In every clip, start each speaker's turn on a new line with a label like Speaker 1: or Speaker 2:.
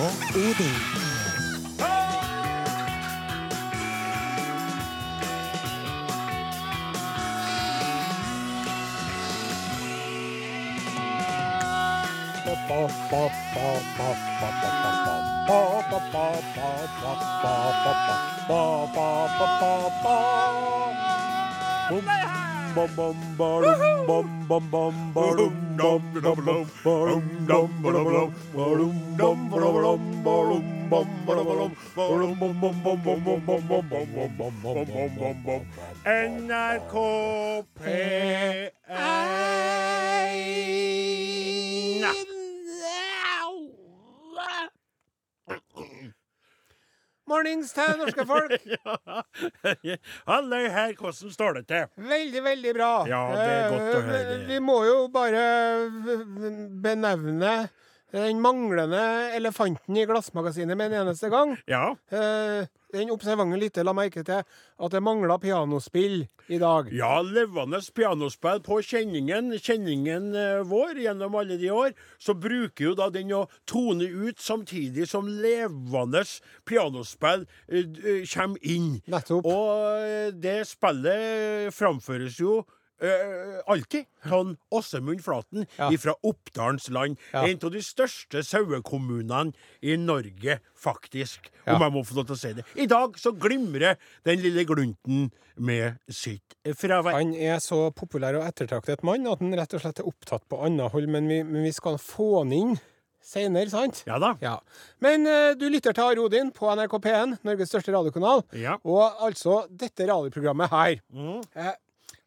Speaker 1: og Odin.
Speaker 2: NRK P1
Speaker 3: Mornings til norske folk.
Speaker 2: Halløy her, hvordan står det til?
Speaker 3: Veldig, veldig bra.
Speaker 2: Ja, det er godt å
Speaker 3: Eh,
Speaker 2: høre.
Speaker 3: Vi må jo bare benevne den manglende elefanten i glassmagasinet med en eneste gang.
Speaker 2: Ja,
Speaker 3: Eh, Den observante lytter la merke til at det mangla pianospill i dag.
Speaker 2: ja levende pianospill på kjenningen, kjenningen eh, vår gjennom alle de år, så bruker jo da den å tone ut samtidig som levende pianospill eh, d- eh, kommer inn.
Speaker 3: Nettopp.
Speaker 2: Og eh, det spillet framføres jo eh, alltid sånn Åsemund Flaten
Speaker 3: Ja.
Speaker 2: fra Oppdalens land.
Speaker 3: Ja.
Speaker 2: En av de største sauekommunene i Norge, faktisk.
Speaker 3: Ja.
Speaker 2: Om jeg må få lov til å si det. I dag så glimrer den lille glunten med sitt fravær.
Speaker 3: Han er så populær og ettertraktet mann at han rett og slett er opptatt på annet hold, men vi, men vi skal få han inn seinere, sant?
Speaker 2: Ja da.
Speaker 3: Ja. Men eh, du lytter til Are Odin på NRK P1, Norges største radiokanal.
Speaker 2: Ja. Mm.
Speaker 3: Og altså dette radioprogrammet her. Eh,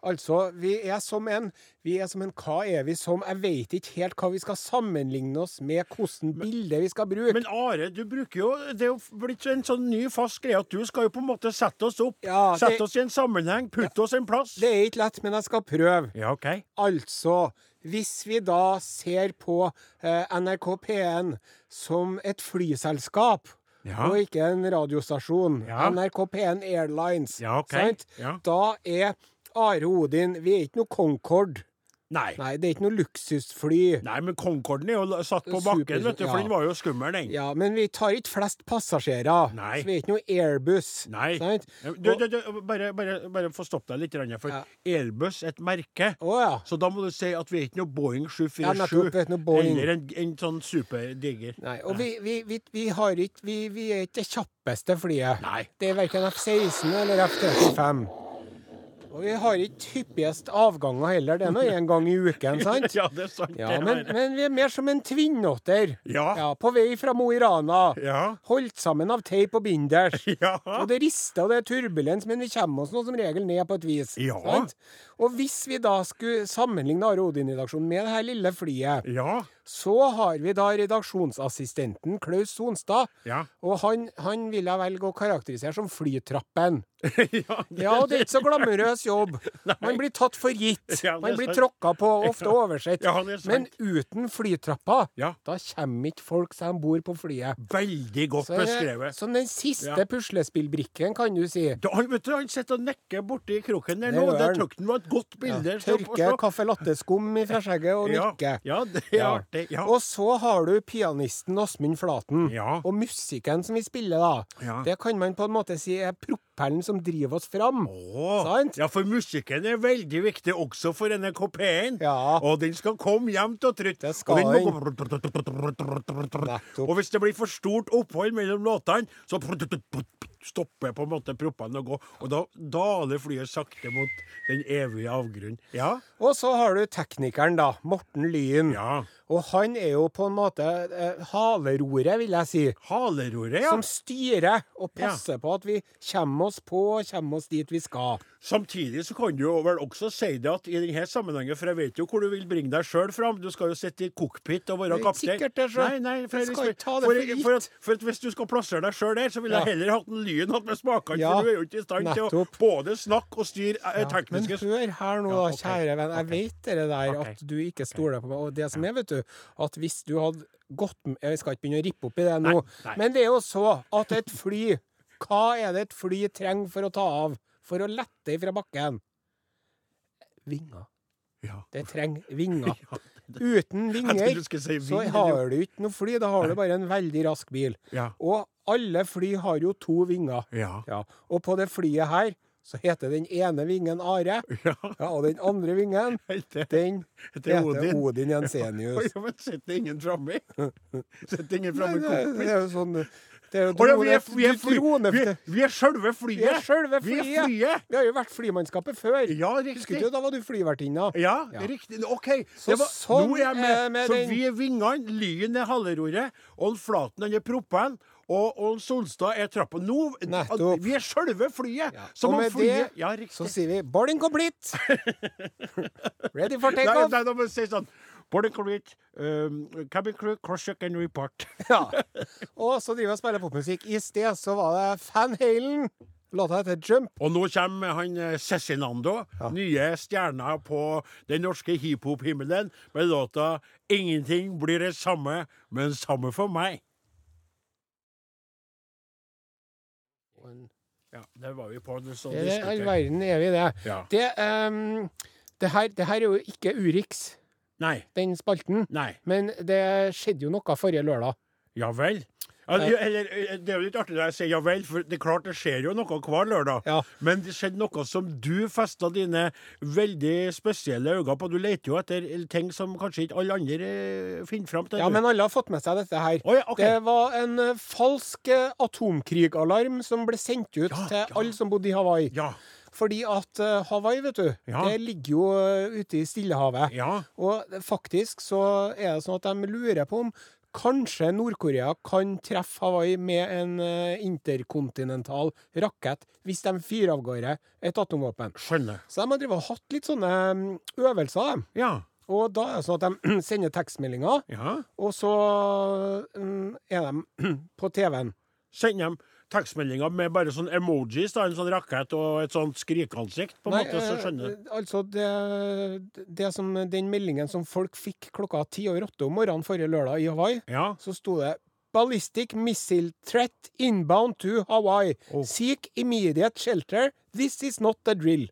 Speaker 3: altså, vi er som en Vi er som en Hva er vi som? Jeg veit ikke helt hva vi skal sammenligne oss med, hvordan bilde vi skal bruke.
Speaker 2: Men Are, du bruker jo Det er jo blitt en sånn ny fast greie at du skal jo på en måte sette oss opp.
Speaker 3: Ja, det-
Speaker 2: Sette oss i en sammenheng. Putte oss en plass.
Speaker 3: det er ikke lett, men jeg skal prøve.
Speaker 2: Ja, OK.
Speaker 3: Altså, hvis vi da ser på eh, NRK P1 som et flyselskap,
Speaker 2: Ja.
Speaker 3: og ikke en radiostasjon,
Speaker 2: Ja.
Speaker 3: NRK P1 Airlines,
Speaker 2: Ja, ok.
Speaker 3: sant?
Speaker 2: Ja.
Speaker 3: da er Are Odin Vi er ikke noe Concorde.
Speaker 2: Nei.
Speaker 3: Nei, det er ikke noe luksusfly.
Speaker 2: Nei, men Concorden er jo la- satt på bakken,
Speaker 3: Super-
Speaker 2: vet du, for
Speaker 3: ja.
Speaker 2: den var jo skummel, den.
Speaker 3: Ja, men vi tar ikke flest passasjerer.
Speaker 2: Nei.
Speaker 3: Så vi er ikke noe Airbus.
Speaker 2: Nei.
Speaker 3: Sant?
Speaker 2: Du,
Speaker 3: Og-
Speaker 2: du, du, bare, bare, bare få stoppe deg litt, grann, for
Speaker 3: Ja.
Speaker 2: Airbus er et merke.
Speaker 3: Å ja.
Speaker 2: Så da må du si at vi er ikke noe Boeing
Speaker 3: Ja,
Speaker 2: 747
Speaker 3: nettopp, vi er ikke noe Boeing.
Speaker 2: eller en, en sånn superdiger.
Speaker 3: Nei, og vi, vi, vi, vi, har ikke, vi, vi er ikke det kjappeste flyet.
Speaker 2: Nei.
Speaker 3: Det er verken F-16 eller F-35. Og vi har ikke hyppigst avganger heller. Det er nå én gang i uken, sant?
Speaker 2: Ja, det er sant.
Speaker 3: Ja,
Speaker 2: det
Speaker 3: men,
Speaker 2: her.
Speaker 3: men vi er mer som en tvinnotter.
Speaker 2: Ja.
Speaker 3: På vei fra Mo i Rana.
Speaker 2: Ja.
Speaker 3: Holdt sammen av teip og binders.
Speaker 2: Ja.
Speaker 3: Og det rister og det er turbulens, men vi kommer oss nå som regel ned på et vis.
Speaker 2: Ja.
Speaker 3: sant? Og hvis vi da skulle sammenligne Are Odin-redaksjonen med det her lille flyet,
Speaker 2: ja.
Speaker 3: så har vi da redaksjonsassistenten Klaus Sonstad.
Speaker 2: Ja.
Speaker 3: Og han, han vil jeg velge å karakterisere som flytrappen.
Speaker 2: ja.
Speaker 3: Ja, og det er ikke så glamorøs jobb. Man blir tatt for gitt.
Speaker 2: Ja, det er
Speaker 3: Man blir
Speaker 2: sant.
Speaker 3: tråkka på, ofte oversett.
Speaker 2: Ja, det er
Speaker 3: Men
Speaker 2: sant.
Speaker 3: uten flytrappa,
Speaker 2: Ja.
Speaker 3: da kommer ikke folk seg om bord på flyet.
Speaker 2: Veldig godt
Speaker 3: Så det-
Speaker 2: beskrevet.
Speaker 3: Som den siste
Speaker 2: Ja.
Speaker 3: puslespillbrikken, kan du si.
Speaker 2: Da, han, vet du, han sitter og nikker borti kroken der
Speaker 3: Det
Speaker 2: nå.
Speaker 3: gjør
Speaker 2: Det
Speaker 3: han.
Speaker 2: tok han var et godt bilde.
Speaker 3: Ja,
Speaker 2: så få
Speaker 3: tørke
Speaker 2: se.
Speaker 3: caffè latte-skum i fraskjegget og
Speaker 2: Ja.
Speaker 3: nikke.
Speaker 2: Ja, det er artig. Ja.
Speaker 3: Og så har du pianisten Åsmund Flaten.
Speaker 2: Ja.
Speaker 3: Og musikken som vi spiller, da.
Speaker 2: Ja.
Speaker 3: Det kan man på en måte si er propellen som driver oss fram.
Speaker 2: Åh,
Speaker 3: Sant?
Speaker 2: Ja, for musikken er veldig viktig også for NRK1.
Speaker 3: Ja.
Speaker 2: Og den skal komme jevnt og trutt.
Speaker 3: Det skal
Speaker 2: og den. Må gå...
Speaker 3: Nettopp.
Speaker 2: Og hvis det blir for stort opphold mellom låtene, så stopper på en måte proppene å gå. Og da daler flyet sakte mot den evige avgrunnen. Ja.
Speaker 3: Og så har du teknikeren, da. Morten Lyen.
Speaker 2: ja.
Speaker 3: Og han er jo på en måte eh, haleroret, vil jeg si.
Speaker 2: Haleroret, ja.
Speaker 3: Som styrer og passer på at vi kommer oss på og kommer oss dit vi skal.
Speaker 2: Samtidig så kan du jo vel også si det at i denne sammenhengen, for jeg vet jo hvor du vil bringe deg sjøl fram, du skal jo sitte i cockpit og være
Speaker 3: Det er ikke
Speaker 2: kaptein.
Speaker 3: sikkert det, sjø.
Speaker 2: Nei, nei,
Speaker 3: Jeg
Speaker 2: for, jeg
Speaker 3: skal
Speaker 2: liksom-
Speaker 3: ikke ta det
Speaker 2: for,
Speaker 3: for gitt.
Speaker 2: for, at, for at hvis du skal plassere deg sjøl der, så ville
Speaker 3: Ja.
Speaker 2: jeg heller hatt en lyen hatt med smakene,
Speaker 3: Ja,
Speaker 2: for du er jo ikke i stand til å
Speaker 3: nettopp.
Speaker 2: både snakke og styre
Speaker 3: Men
Speaker 2: eh, tekniske
Speaker 3: hør her nå, da,
Speaker 2: Ja, ok.
Speaker 3: kjære venn. Jeg vet det der
Speaker 2: Ok.
Speaker 3: at du ikke stoler på meg. Og det som er, vet du, at hvis du hadde gått med Jeg skal ikke begynne å rippe opp i det nå,
Speaker 2: nei.
Speaker 3: men det er jo så at et fly Hva er det et fly trenger for å ta av? For å lette ifra bakken? Vinger.
Speaker 2: Ja.
Speaker 3: Det trenger vinger. Uten
Speaker 2: Jeg
Speaker 3: vinger
Speaker 2: trodde du skulle si
Speaker 3: så
Speaker 2: vind,
Speaker 3: har du ikke noe fly, da har du bare en veldig rask bil.
Speaker 2: Ja.
Speaker 3: Og alle fly har jo to vinger.
Speaker 2: Ja.
Speaker 3: Ja. Og på det flyet her så heter den ene vingen Are,
Speaker 2: Ja.
Speaker 3: ja, og den andre vingen,
Speaker 2: Det
Speaker 3: den
Speaker 2: Det er
Speaker 3: heter
Speaker 2: Odin.
Speaker 3: Odin, Jensenius.
Speaker 2: Oi, men sitter ingen framme? Sitter ingen
Speaker 3: Nei,
Speaker 2: framme
Speaker 3: det, er- det
Speaker 2: kompis?
Speaker 3: er jo sånn det er jo
Speaker 2: Å ja, vi
Speaker 3: drone,
Speaker 2: er, vi er, fly,
Speaker 3: drone,
Speaker 2: vi er, vi er sjølve flyet!
Speaker 3: Vi er selve
Speaker 2: Vi er
Speaker 3: flyet.
Speaker 2: flyet.
Speaker 3: Vi har jo vært flymannskapet før.
Speaker 2: Ja,
Speaker 3: Husker
Speaker 2: riktig.
Speaker 3: du, da var du flyvertinne.
Speaker 2: Ja,
Speaker 3: Ja.
Speaker 2: riktig. OK.
Speaker 3: Så
Speaker 2: Det var,
Speaker 3: sånn
Speaker 2: nå er jeg med.
Speaker 3: er med
Speaker 2: så
Speaker 3: den-
Speaker 2: vi er vingene, Lyn er halvroret, og Flaten han er proppen, og, og Solstad er trappa. Nå
Speaker 3: Nettopp.
Speaker 2: Vi er sjølve flyet!
Speaker 3: Og
Speaker 2: Som om
Speaker 3: med
Speaker 2: flyet
Speaker 3: det
Speaker 2: Ja,
Speaker 3: Så
Speaker 2: riktig.
Speaker 3: sier vi 'boarding complete'! Ready for
Speaker 2: Nei,
Speaker 3: takeoff!
Speaker 2: nei, da må du si sånn Boarding complete. Um, cabin crew, cross check and report.
Speaker 3: Ja. Og så driver jeg og spiller popmusikk. I sted så var det Fan Halen. Låta heter 'Jump'.
Speaker 2: Og nå kommer han eh, Cezinando, nye stjerna på den norske hiphop-himmelen, med låta 'Ingenting blir det samme, men samme for meg'. Ja, der var vi på en sånn
Speaker 3: Det er all
Speaker 2: diskotek.
Speaker 3: verden er vi det.
Speaker 2: Ja.
Speaker 3: Det, ehm, det, her, det her er jo ikke Urix,
Speaker 2: Nei.
Speaker 3: den spalten.
Speaker 2: Nei.
Speaker 3: Men det skjedde jo noe forrige lørdag.
Speaker 2: Ja vel. Ja, det- eller, eh, det er jo litt artig når jeg sier ja vel, for det er klart det skjer jo noe hver lørdag.
Speaker 3: Ja.
Speaker 2: Men det skjedde noe som du festa dine veldig spesielle øyne på. Du leter jo etter ting som kanskje ikke alle andre eh, finner fram til.
Speaker 3: Ja,
Speaker 2: du.
Speaker 3: men alle har fått med seg dette her.
Speaker 2: Å ja, ok.
Speaker 3: Det var en eh, falsk eh, atomkrigalarm som ble sendt ut
Speaker 2: Ja,
Speaker 3: til
Speaker 2: ja.
Speaker 3: alle som bodde i Hawaii.
Speaker 2: ja.
Speaker 3: Fordi at eh, Hawaii, vet du,
Speaker 2: Ja.
Speaker 3: det ligger jo eh, ute i Stillehavet.
Speaker 2: Ja.
Speaker 3: Og det- faktisk så er det sånn at de lurer på om kanskje Nord-Korea kan treffe Hawaii med en eh, interkontinental rakett hvis de fyrer av gårde et atomvåpen.
Speaker 2: Skjønner.
Speaker 3: Så de har drevet og hatt litt sånne mm, øvelser, de.
Speaker 2: Ja.
Speaker 3: Og da er det sånn at de sender tekstmeldinger,
Speaker 2: ja.
Speaker 3: og så mm, er de på TV-en.
Speaker 2: Send dem tekstmeldinger med bare sånn emojis, da, en sånn rakett og et sånt skrikeansikt, på en måte, så
Speaker 3: eh,
Speaker 2: skjønner du.
Speaker 3: altså det, det som, den meldingen som folk fikk klokka ti over åtte om morgenen forrige lørdag i Hawaii,
Speaker 2: Ja.
Speaker 3: så sto det Ballistic missile threat inbound to Hawaii.
Speaker 2: Oh.
Speaker 3: Seek immediate shelter. This is not a drill.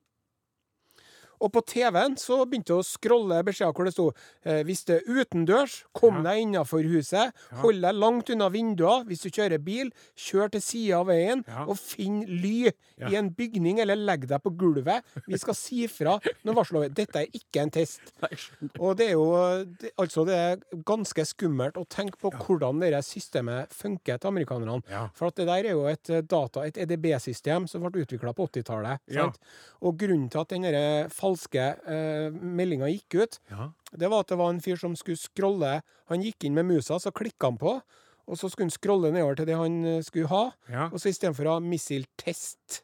Speaker 3: Og på TV-en så begynte jeg å scrolle beskjeder hvor det sto eh, hvis det er utendørs, kom deg innafor huset, hold deg langt unna vinduer hvis du kjører bil, kjør til sida av veien
Speaker 2: Ja.
Speaker 3: og finn ly
Speaker 2: Ja.
Speaker 3: i en bygning eller legg deg på gulvet. Vi skal si fra når varselet er over. Dette er ikke en test.
Speaker 2: Nei, skjønner.
Speaker 3: Og det er jo det, altså det er ganske skummelt å tenke på hvordan det der systemet funker til amerikanerne.
Speaker 2: Ja.
Speaker 3: For at det der er jo et eh, data, et EDB-system som ble utvikla på 80-tallet.
Speaker 2: Ja.
Speaker 3: sant? Og grunnen til at den der falske eh, meldinga gikk ut,
Speaker 2: Ja.
Speaker 3: det var at det var en fyr som skulle scrolle. Han gikk inn med musa, så klikka han på. Og så skulle han scrolle nedover til det han eh, skulle ha.
Speaker 2: Ja.
Speaker 3: Og så istedenfor å ha missile test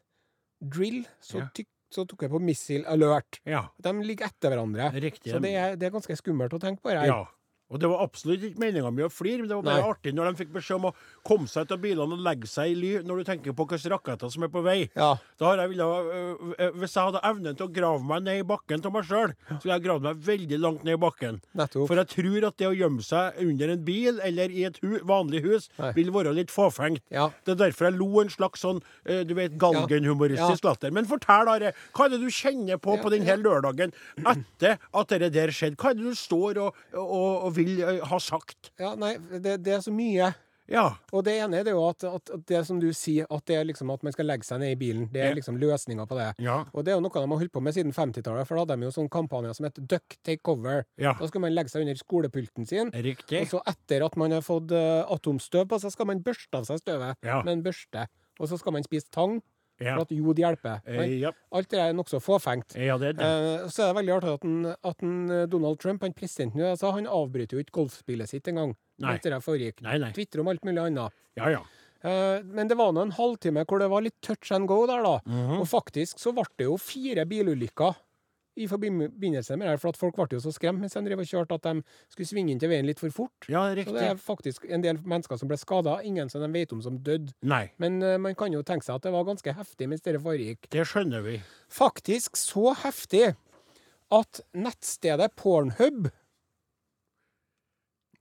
Speaker 3: drill, så,
Speaker 2: Ja.
Speaker 3: tyk- så tok jeg på missile alert.
Speaker 2: ja.
Speaker 3: De ligger etter hverandre.
Speaker 2: Riktig.
Speaker 3: Så det er, det er ganske skummelt å tenke på det her.
Speaker 2: Ja. Og det var absolutt ikke meninga mi å flire, men det var bare
Speaker 3: Nei.
Speaker 2: artig når de fikk beskjed om å komme seg ut av bilene og legge seg i ly, når du tenker på hvilke raketter som er på vei.
Speaker 3: Ja.
Speaker 2: Da har jeg ville, øh, øh, hvis jeg hadde evnen til å grave meg ned i bakken av meg sjøl, så ville jeg gravd meg veldig langt ned i bakken.
Speaker 3: Nettopp.
Speaker 2: For jeg tror at det å gjemme seg under en bil eller i et hu vanlig hus
Speaker 3: Nei.
Speaker 2: vil være litt fåfengt.
Speaker 3: Ja.
Speaker 2: Det er derfor jeg lo en slags sånn øh, du vet, galgenhumoristisk latter. Men fortell, Are, hva er det du kjenner på på denne lørdagen etter at det der skjedde? Hva er det du står og, og, og vil øh, ha sagt?
Speaker 3: ja nei, det, det er så mye.
Speaker 2: Ja.
Speaker 3: Og det ene er det jo at, at, at det som du sier, at det er liksom at man skal legge seg ned i bilen. Det
Speaker 2: Ja.
Speaker 3: er liksom løsninga på det.
Speaker 2: Ja.
Speaker 3: Og det er jo noe de har holdt på med siden 50-tallet, for da hadde de jo sånn kampanjer som het Duck take cover.
Speaker 2: Ja.
Speaker 3: Da skal man legge seg under skolepulten sin.
Speaker 2: Riktig.
Speaker 3: Og så etter at man har fått eh, atomstøv på seg, skal man børste av seg støvet
Speaker 2: Ja.
Speaker 3: med en børste. Og så skal man spise tang,
Speaker 2: Ja.
Speaker 3: for at jod hjelper.
Speaker 2: Eh,
Speaker 3: Men
Speaker 2: ja.
Speaker 3: Alt det der er nokså fåfengt.
Speaker 2: ja, det er det.
Speaker 3: Eh, så er det veldig artig at, den, at den, eh, Donald Trump, han presidenten i USA, han avbryter jo ikke golfspillet sitt engang.
Speaker 2: Nei.
Speaker 3: Etter det foregikk.
Speaker 2: Nei, nei.
Speaker 3: Twitter om alt mulig annet.
Speaker 2: Ja, ja.
Speaker 3: Eh, men det var nå en halvtime hvor det var litt touch and go der, da.
Speaker 2: Mhm.
Speaker 3: Og faktisk så ble det jo fire bilulykker i forbindelse med det her, for at folk ble jo så skremt mens de drev og kjørte at de skulle svinge inn til veien litt for fort.
Speaker 2: Ja,
Speaker 3: Så det er
Speaker 2: riktig.
Speaker 3: faktisk en del mennesker som ble skada, ingen som de vet om som døde.
Speaker 2: Nei.
Speaker 3: Men eh, man kan jo tenke seg at det var ganske heftig mens det foregikk
Speaker 2: Det skjønner vi.
Speaker 3: faktisk så heftig at nettstedet Pornhub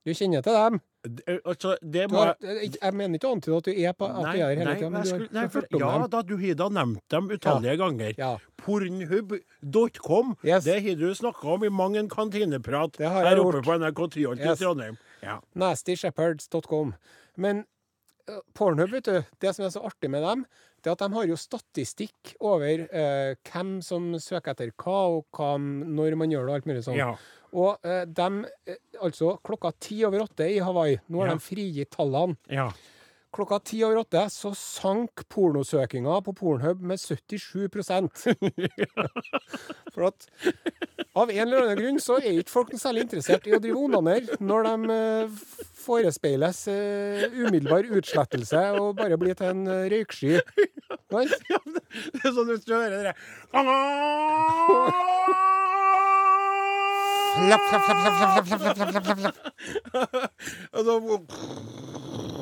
Speaker 3: Du kjenner til dem?
Speaker 2: d- eh, Altså, det
Speaker 3: Du
Speaker 2: må
Speaker 3: har,
Speaker 2: jeg
Speaker 3: jeg, jeg mener ikke å antyde at du er på at du er her hele
Speaker 2: nei,
Speaker 3: tida, men
Speaker 2: jeg
Speaker 3: du har
Speaker 2: skulle- nei, for,
Speaker 3: hørt om
Speaker 2: ja
Speaker 3: dem.
Speaker 2: da, du har da nevnt dem utallige ganger.
Speaker 3: Ja.
Speaker 2: Pornhub.com,
Speaker 3: Yes.
Speaker 2: det har du snakka om i mang en kantineprat
Speaker 3: Det har jeg
Speaker 2: her
Speaker 3: gjort.
Speaker 2: oppe på NRK Tyholt
Speaker 3: Yes.
Speaker 2: i Trondheim. Ja.
Speaker 3: Nastyshepards.com. Men eh, Pornhub, vet du, det som er så artig med dem, det er at de har jo statistikk over eh, hvem som søker etter hva, og hva, når man gjør det, og alt mulig sånn.
Speaker 2: Ja.
Speaker 3: Og eh, de, eh, altså klokka ti over åtte i Hawaii, nå har
Speaker 2: Ja.
Speaker 3: de frigitt tallene.
Speaker 2: ja.
Speaker 3: Klokka ti over åtte så sank pornosøkinga på Pornhub med 77 For at av en eller annen grunn så er ikke folk noe særlig interessert i å drive onanere når de eh, f- forespeiles eh, umiddelbar utslettelse og bare blir til en eh, røyksky. Sant?
Speaker 2: Ja, men det er sånn hvis du hører det der.
Speaker 3: Flapp, flapp, flapp, flapp, flapp, flapp, flapp, flapp, flapp, flapp.
Speaker 2: Og så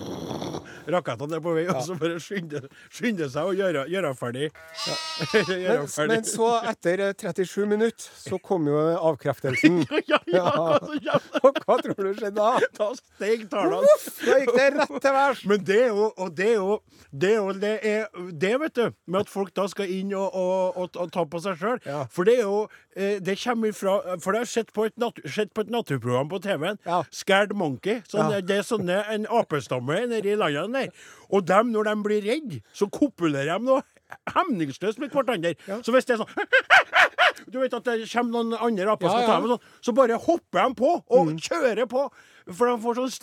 Speaker 2: Rakettene er på vei, og så bare skynde, skynde seg å gjøre, gjøre ferdig. gjøre
Speaker 3: Men, men så, etter eh, 37 minutter, så kom jo avkreftelsen.
Speaker 2: ja, ja, hva som kommer?
Speaker 3: Og hva tror du skjedde da?
Speaker 2: Da steg tallene.
Speaker 3: Voff, da gikk det rett til værs!
Speaker 2: Men det er jo og det er jo det, er jo, det, er, det vet du, med at folk da skal inn og, og, og, og ta på seg sjøl.
Speaker 3: Ja.
Speaker 2: For det er jo eh, Det kommer ifra For det har jeg sett på et, nat sett på et naturprogram på TV-en.
Speaker 3: Ja.
Speaker 2: Scared Monkey. Sånn,
Speaker 3: Ja.
Speaker 2: Det er sånne en apestamme nede i landet der. Og dem, når de blir redde, så kopulerer de noe hemningsløst med hverandre. Så hvis det er sånn du vet at det kommer noen andre aper og
Speaker 3: Ja,
Speaker 2: skal
Speaker 3: ja. Mm.
Speaker 2: ta dem, og sånn, så bare hopper de på og kjører på. For de får sånn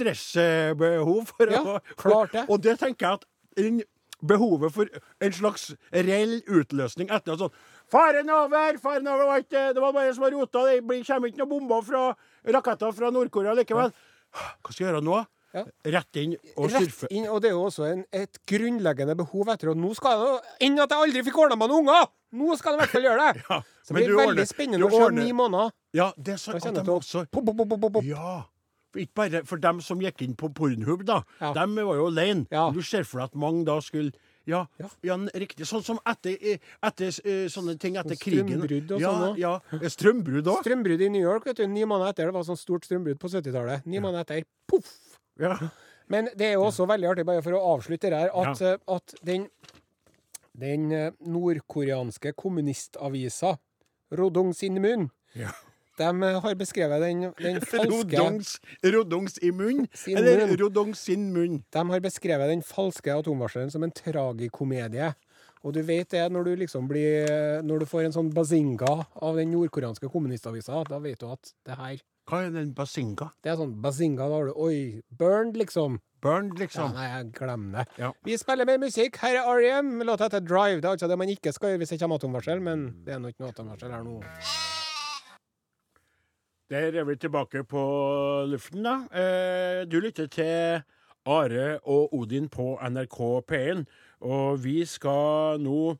Speaker 2: stressbehov. For
Speaker 3: Ja,
Speaker 2: å,
Speaker 3: klart det.
Speaker 2: Og det tenker jeg at den behovet for en slags reell utløsning etter at sånn Faren er over! Faren er over! det var ikke- Det var bare en som har rota. Det blir- kommer ikke noen bomber fra raketter fra Nord-Korea likevel. Hva skal jeg gjøre nå?
Speaker 3: Ja.
Speaker 2: Rett inn og
Speaker 3: Rett
Speaker 2: surfe.
Speaker 3: inn, og det er jo også en, et grunnleggende behov etter at nå skal jeg nå- Enn at jeg aldri fikk ordna meg noen unger! Nå skal jeg i hvert fall gjøre det!
Speaker 2: Ja,
Speaker 3: Så
Speaker 2: men
Speaker 3: det blir
Speaker 2: du
Speaker 3: veldig
Speaker 2: ordner-
Speaker 3: spennende
Speaker 2: du
Speaker 3: å se om
Speaker 2: ordner-
Speaker 3: ni måneder.
Speaker 2: Ja, det er sånn
Speaker 3: Da
Speaker 2: at
Speaker 3: kjenner
Speaker 2: de
Speaker 3: jeg
Speaker 2: også
Speaker 3: til pop, pop, pop, pop, pop.
Speaker 2: Ja. Ikke bare for dem som gikk inn på Pornhub, da.
Speaker 3: Ja.
Speaker 2: Dem var jo alene.
Speaker 3: Ja.
Speaker 2: Du ser for deg at mange da skulle ja,
Speaker 3: Ja.
Speaker 2: ja. n- riktig. Sånn som etter, eh, etter eh, sånne ting etter krigen.
Speaker 3: Strømbrudd og
Speaker 2: ja,
Speaker 3: sånn også.
Speaker 2: Ja, Eh, Strømbrudd òg.
Speaker 3: Strømbrudd i New York, vet du. Ni måneder etter. Det var sånn stort strømbrudd på 70-tallet. Ni måneder etter. Poff!
Speaker 2: Ja.
Speaker 3: Men det er jo også veldig artig, bare for å avslutte det her, at, eh, at den, den eh, nordkoreanske kommunistavisa Rodong Sinmun,
Speaker 2: Ja.
Speaker 3: de eh, har beskrevet den, den falske
Speaker 2: Rodongs, rodongs i munn.
Speaker 3: Sin
Speaker 2: Eller
Speaker 3: munn.
Speaker 2: rodongs sin munn.
Speaker 3: De har beskrevet den falske atomvarsleren som en tragikomedie. Og du vet det når du liksom blir Når du får en sånn bazinga av den nordkoreanske kommunistavisa, da vet du at det her
Speaker 2: Hva er den basinga?
Speaker 3: Det er sånn bazinga, da har du Oi, burned, liksom.
Speaker 2: Burned,
Speaker 3: Ja,
Speaker 2: liksom.
Speaker 3: nei, jeg glemmer det.
Speaker 2: Ja.
Speaker 3: Vi spiller mer musikk. Her er R.E.M. med Låta heter Drive. Det er altså det man ikke skal gjøre hvis det kommer atomvarsel, men det er nå ikke noe atomvarsel her nå.
Speaker 2: Der er vi tilbake på luften, da. Eh, du lytter til Are og Odin på NRK P1, og vi skal nå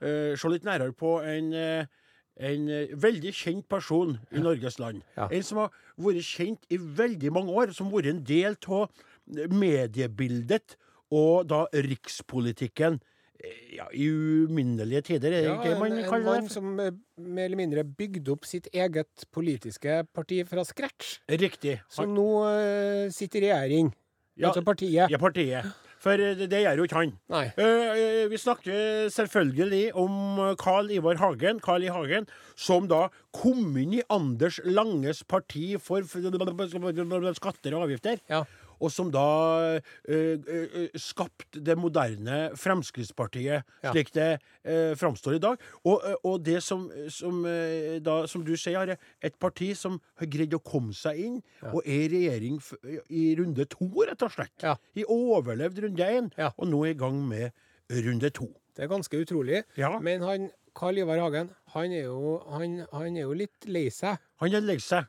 Speaker 2: eh, se litt nærmere på en, eh, en eh, veldig kjent person i Norges land.
Speaker 3: Ja.
Speaker 2: En som har vært kjent i veldig mange år, som har vært en del av mediebildet og da rikspolitikken. eh, Ja, I uminnelige tider, er det ikke det
Speaker 3: en,
Speaker 2: man
Speaker 3: en
Speaker 2: kaller
Speaker 3: mann
Speaker 2: det?
Speaker 3: som eh, mer eller mindre bygde opp sitt eget politiske parti fra scratch,
Speaker 2: Riktig. Han-
Speaker 3: som nå eh, sitter i regjering.
Speaker 2: Ja.
Speaker 3: Altså partiet.
Speaker 2: Ja, partiet. For eh, det det gjør jo ikke han.
Speaker 3: Nei.
Speaker 2: Eh, eh, Vi snakker selvfølgelig om eh, Carl Ivar Hagen, Carl I. Hagen, som da kom inn i Anders Langes parti for f- skatter og avgifter.
Speaker 3: Ja.
Speaker 2: Og som da eh, eh, skapte det moderne Fremskrittspartiet
Speaker 3: Ja.
Speaker 2: slik det eh, framstår i dag. Og, eh, og det som, som, eh, da, som du sier, Are, et parti som har greid å komme seg inn, og er i regjering f i runde to, rett og slett.
Speaker 3: Ja.
Speaker 2: De overlevde runde én,
Speaker 3: Ja.
Speaker 2: og nå er i gang med runde to.
Speaker 3: Det er ganske utrolig.
Speaker 2: Ja.
Speaker 3: Men han Karl Ivar Hagen, han er jo, han, han er jo litt lei seg.
Speaker 2: Han er lei seg.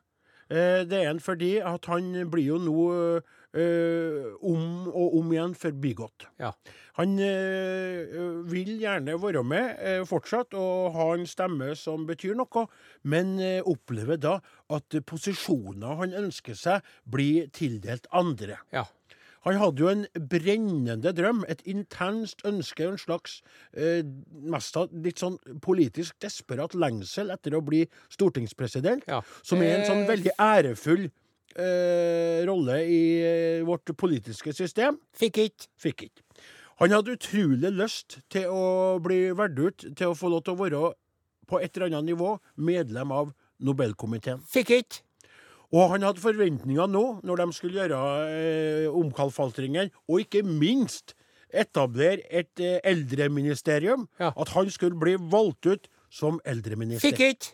Speaker 2: Eh, Det er han fordi at han blir jo nå eh, om og om igjen forbigått.
Speaker 3: Ja.
Speaker 2: Han eh, vil gjerne være med eh, fortsatt og ha en stemme som betyr noe, men eh, opplever da at posisjoner han ønsker seg, blir tildelt andre.
Speaker 3: ja.
Speaker 2: Han hadde jo en brennende drøm, et intenst ønske, en slags eh, mest av litt sånn politisk desperat lengsel etter å bli stortingspresident,
Speaker 3: Ja.
Speaker 2: som er en sånn veldig ærefull eh, rolle i eh, vårt politiske system.
Speaker 3: Fikk ikke.
Speaker 2: Fikk ikke. Han hadde utrolig lyst til å bli valgt ut til å få lov til å være, på et eller annet nivå, medlem av Nobelkomiteen.
Speaker 3: Fikk ikke.
Speaker 2: Og han hadde forventninger nå, når de skulle gjøre eh, omkalfatringer, og ikke minst etablere et eh, eldreministerium,
Speaker 3: Ja.
Speaker 2: at han skulle bli valgt ut som eldreminister.
Speaker 3: Fikk ikke.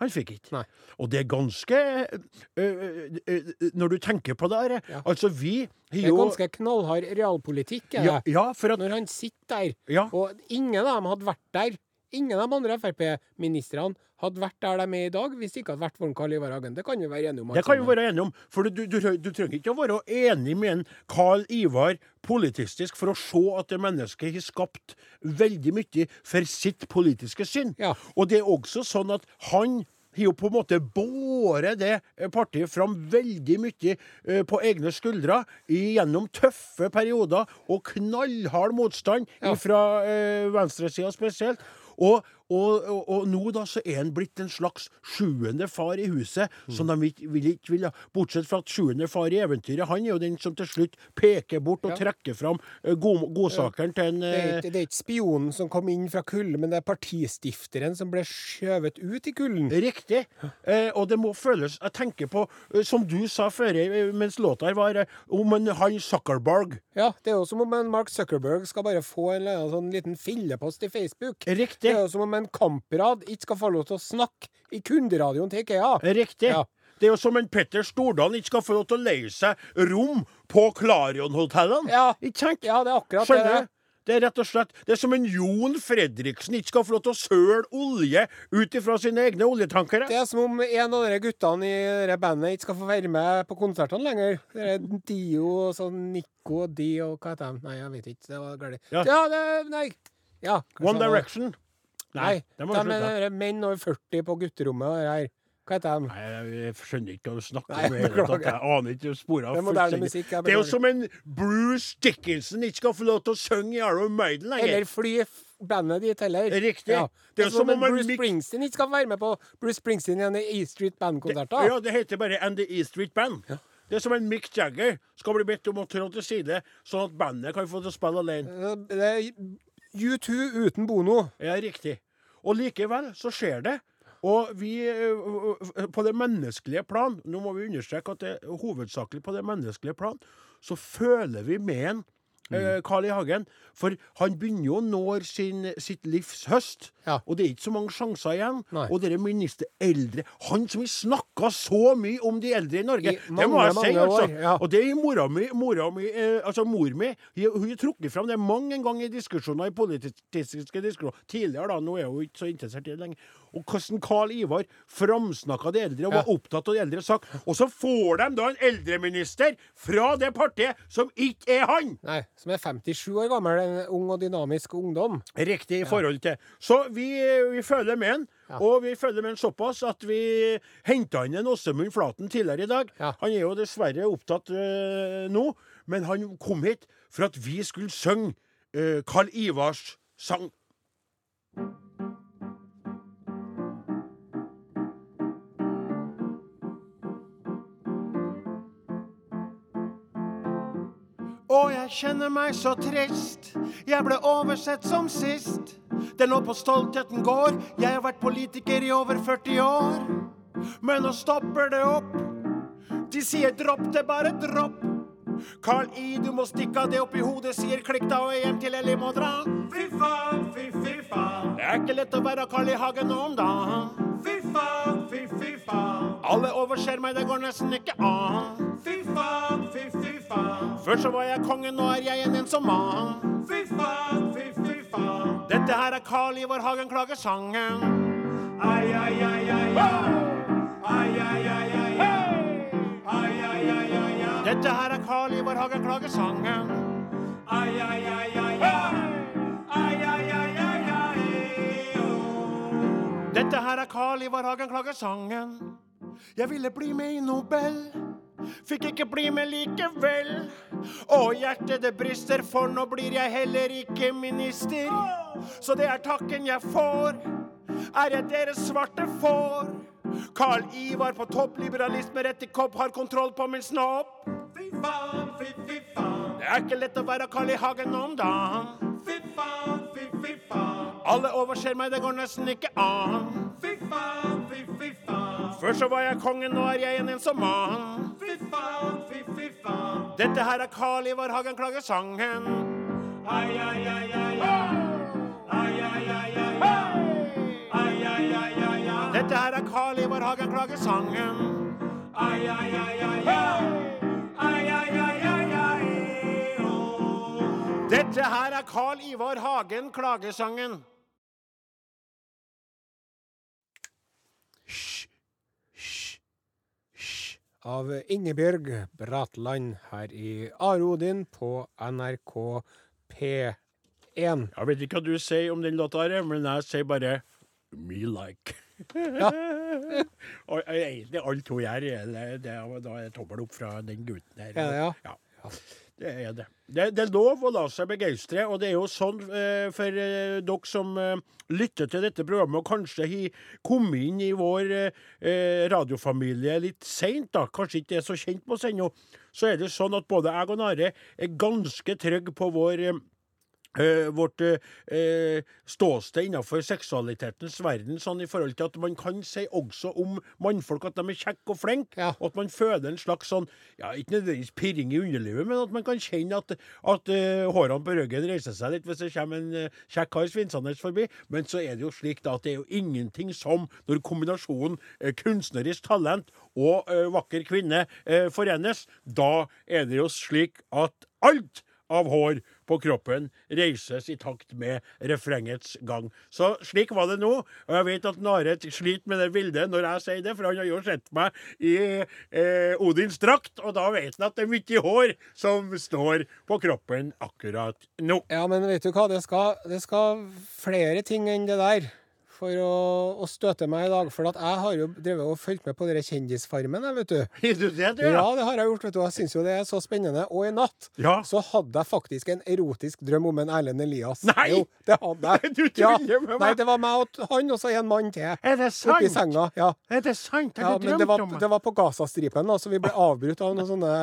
Speaker 2: Han fikk ikke.
Speaker 3: Nei.
Speaker 2: Og det er ganske eh, ø, ø, ø, ø, eh, Når du tenker på det her Altså, vi har
Speaker 3: Det er
Speaker 2: jo
Speaker 3: ganske knallhard realpolitikk. Er det?
Speaker 2: ja, ja, for at
Speaker 3: Når han sitter der,
Speaker 2: Ja.
Speaker 3: og ingen av dem hadde vært der Ingen av de andre Frp-ministrene hadde vært der de er i dag, hvis det ikke hadde vært for Karl Ivar Hagen. Det kan vi være enige om. altså.
Speaker 2: Det
Speaker 3: alt
Speaker 2: kan vi
Speaker 3: sammen.
Speaker 2: være enige om. For du, du, du trenger ikke å være enig med en Carl Ivar politistisk for å se at det mennesket har skapt veldig mye for sitt politiske syn.
Speaker 3: Ja.
Speaker 2: Og det er også sånn at han har jo på en måte båret det eh, partiet fram veldig mye eh, på egne skuldre i- gjennom tøffe perioder og knallhard motstand
Speaker 3: Ja.
Speaker 2: fra eh, venstresida spesielt. Og, og, og, og nå da så er han blitt en slags sjuende far i huset,
Speaker 3: Mm.
Speaker 2: som de ikke vil, ikke vil ha. Bortsett fra at sjuende far i eventyret, han er jo den som til slutt peker bort og trekker fram eh, god, godsakeren til en
Speaker 3: Det er,
Speaker 2: eh,
Speaker 3: ikke, det er ikke spionen som kom inn fra kulden, men det er partistifteren som ble skjøvet ut i kulden.
Speaker 2: Riktig. Eh, og det må føles Jeg tenker på, eh, som du sa før eh, mens låta her var, eh, om en han Zuckerberg.
Speaker 3: Ja, det er jo som om en Mark Zuckerberg skal bare få en eller annen sånn liten fillepost i Facebook. Det
Speaker 2: Riktig.
Speaker 3: er jo som om en kamprad ikke skal få lov til å snakke i kunderadioen til IKEA.
Speaker 2: Riktig.
Speaker 3: Ja.
Speaker 2: Det er jo som en Petter Stordalen ikke skal få lov til å leie seg rom på Klarionhotellene.
Speaker 3: Ja.
Speaker 2: Ikke sant?
Speaker 3: Ja, det er akkurat det det
Speaker 2: Skjønner
Speaker 3: er.
Speaker 2: du? Det er rett og slett Det er som en Jon Fredriksen ikke skal få lov til å søle olje ut ifra sine egne oljetankere.
Speaker 3: Det er som om en av de guttene i det bandet ikke skal få være med på konsertene lenger. Det er Dio og sånn Nico og Dio og hva heter de? Nei, jeg vet ikke. Det var galt.
Speaker 2: Ja.
Speaker 3: Ja. det Nei. Ja, kanskje
Speaker 2: One
Speaker 3: han var-
Speaker 2: Direction.
Speaker 3: sånn. Nei.
Speaker 2: det
Speaker 3: De
Speaker 2: må vi
Speaker 3: er
Speaker 2: slutte.
Speaker 3: dere menn over 40 på gutterommet og det her. Hva heter de?
Speaker 2: Nei, jeg skjønner ikke hva du snakker
Speaker 3: Nei,
Speaker 2: om. i det hele tatt.
Speaker 3: beklager.
Speaker 2: Jeg aner ikke sporene.
Speaker 3: Det er moderne musikk, jeg
Speaker 2: Det er jo
Speaker 3: beklager.
Speaker 2: som en Bruce Dickinson ikke skal få lov til å synge i Iron Maiden lenger.
Speaker 3: Eller fly f- bandet ditt heller.
Speaker 2: Riktig.
Speaker 3: Ja.
Speaker 2: Det er som om en
Speaker 3: Bruce
Speaker 2: mix-
Speaker 3: Springsteen ikke skal få være med på Bruce Springsteen igjen i E Street Band-konserter.
Speaker 2: Ja, det heter bare And The E Street Band. Det er som en Mick Jagger skal bli bedt om å trå til side, sånn at bandet kan få til å spille alene.
Speaker 3: Eh, Det er U2 uten Bono.
Speaker 2: Ja, riktig. Og likevel så skjer det. Og vi ø, ø, ø, På det menneskelige plan, nå må vi understreke at det er hovedsakelig på det menneskelige plan, så føler vi med en ø,
Speaker 3: Mm.
Speaker 2: Carl I. Hagen. For han begynner jo å nå sin, sitt livs høst.
Speaker 3: Ja.
Speaker 2: Og det er ikke så mange sjanser igjen.
Speaker 3: Nei.
Speaker 2: Og dere minister eldre Han som har snakka så mye om de eldre i Norge!
Speaker 3: I mange,
Speaker 2: det må jeg si,
Speaker 3: mange år,
Speaker 2: altså.
Speaker 3: ja.
Speaker 2: Og det er mora mi, mora mi eh, altså mor mi, hun hun har trukket fram det mange ganger i diskusjoner, i politiske diskusjoner. Tidligere, da, nå er hun ikke så interessert i det lenger. Og hvordan Karl Ivar framsnakka de eldre og var
Speaker 3: Ja.
Speaker 2: opptatt av de eldre sak. Og så får de da en eldreminister fra det partiet som ikke er han!
Speaker 3: Nei, som er 57 år gammel. En ung og dynamisk ungdom.
Speaker 2: Riktig i forhold til. Så vi, vi følger med han.
Speaker 3: Ja.
Speaker 2: Og vi følger med han såpass at vi henta inn en Åsemund Flaten tidligere i dag.
Speaker 3: Ja.
Speaker 2: Han er jo dessverre opptatt øh, nå, men han kom hit for at vi skulle synge øh, Karl Ivars sang. Og jeg kjenner meg så trist. Jeg ble oversett som sist. Det lå på stoltheten går. Jeg har vært politiker i over 40 år. Men nå stopper det opp. De sier dropp det, bare dropp. Carl I, du må stikke av det opp i hodet, sier klikk da og hjem til Ellie må dra.
Speaker 1: Fy faen, fy, fy faen.
Speaker 2: Det er ikke lett å være Carl I. Hagen nå om dagen.
Speaker 1: Fy faen, fy, fy faen.
Speaker 2: Alle overser meg, det går nesten ikke an.
Speaker 1: Fy faen, fy, fy faen.
Speaker 2: Før så var jeg kongen, nå er jeg en ensom mann.
Speaker 1: Fy faen, fy, fy faen.
Speaker 2: Dette her er Carl Ivar Hagen klager sangen.
Speaker 1: Ai, ai, ai, ai, ai. Ai, ai, ai, ai, ai. Ai, ai, ai, ai, ai.
Speaker 2: Dette her er Carl Ivar Hagen klager sangen.
Speaker 1: Ai, ai, ai, ai, ai. Ai, ai, ai, ai, ai. Åh.
Speaker 2: Dette her er Carl Ivar Hagen klager sangen. Jeg ville bli med i Nobel, fikk ikke bli med likevel. Å, hjertet det brister, for nå blir jeg heller ikke minister. Så det er takken jeg får. Ære dere svarte får. Carl Ivar på topp, liberalisme rett i kopp, har kontroll på min snopp.
Speaker 1: Fy faen, fy, fy faen.
Speaker 2: Det er ikke lett å være Carl I. Hagen om dagen.
Speaker 1: Fy faen, fy, fy faen.
Speaker 2: Alle overser meg, det går nesten ikke an.
Speaker 1: Fy faen, fy, fy faen.
Speaker 2: Før så var jeg kongen, nå er jeg en ensom mann.
Speaker 1: Fy faen, fy, fy faen.
Speaker 2: Dette her er Carl Ivar Hagen klager sangen.
Speaker 1: Ai, ai, ai, ai, ai. Ai, ai, ai, ai, ai. Ai, ai, ai, ai, ai.
Speaker 2: Dette her er Carl Ivar Hagen klager sangen.
Speaker 1: Ai, ai, ai, ai, ai. Ai, ai, ai, ai, ai. Åh.
Speaker 2: Dette her er Carl Ivar Hagen klagesangen.
Speaker 3: Av Ingebjørg Bratland her i Are Odin på NRK P1.
Speaker 2: Jeg vet ikke hva du sier om den låta, her, men jeg sier bare me like. Og eh, egentlig alle to her eller det er, da er det tommel opp fra den gutten her.
Speaker 3: Ja, ja.
Speaker 2: Det er det. det. Det er lov å la seg begeistre, og det er jo sånn eh, for eh, dere som eh, lytter til dette programmet og kanskje har kommet inn i vår eh, eh, radiofamilie litt seint, da, kanskje ikke er så kjent med oss ennå, så er det sånn at både jeg og Nare er ganske trygge på vår eh, eh, vårt eh, eh, ståsted innenfor seksualitetens verden, sånn i forhold til at man kan si også om mannfolk at de er kjekke og flinke,
Speaker 3: Ja.
Speaker 2: og at man føler en slags sånn, ja, ikke nødvendigvis pirring i underlivet, men at man kan kjenne at, at eh, hårene på ryggen reiser seg litt hvis det kommer en eh, kjekk kar svinsende forbi, men så er det jo slik da at det er jo ingenting som når kombinasjonen eh, kunstnerisk talent og eh, vakker kvinne eh, forenes, da er det jo slik at alt av hår på kroppen reises i takt med refrengets gang. Så slik var det nå. Og jeg vet at Naret sliter med det bildet når jeg sier det, for han har jo sett meg i eh, Odins drakt, og da vet han at det er mye hår som står på kroppen akkurat nå.
Speaker 3: Ja, men vet du hva? Det skal, det skal flere ting enn det der for å, å støte meg i dag. For at jeg har jo drevet og fulgt med på dere Kjendisfarmen, jeg, vet du.
Speaker 2: Sier du det, du?
Speaker 3: Ja, det har jeg gjort, vet du. Jeg syns jo det er så spennende. Og i natt
Speaker 2: Ja.
Speaker 3: så hadde jeg faktisk en erotisk drøm om en Erlend Elias.
Speaker 2: Nei!
Speaker 3: Jo, det hadde jeg.
Speaker 2: Du tuller med meg.
Speaker 3: Nei, det var meg og han, og så en mann til.
Speaker 2: Er det
Speaker 3: Oppi
Speaker 2: sant?
Speaker 3: senga. Ja.
Speaker 2: Er det sant?
Speaker 3: Ja,
Speaker 2: Har du
Speaker 3: men det
Speaker 2: drømt
Speaker 3: var,
Speaker 2: om
Speaker 3: det var på Gazastripen, da, så vi ble avbrutt av noen sånne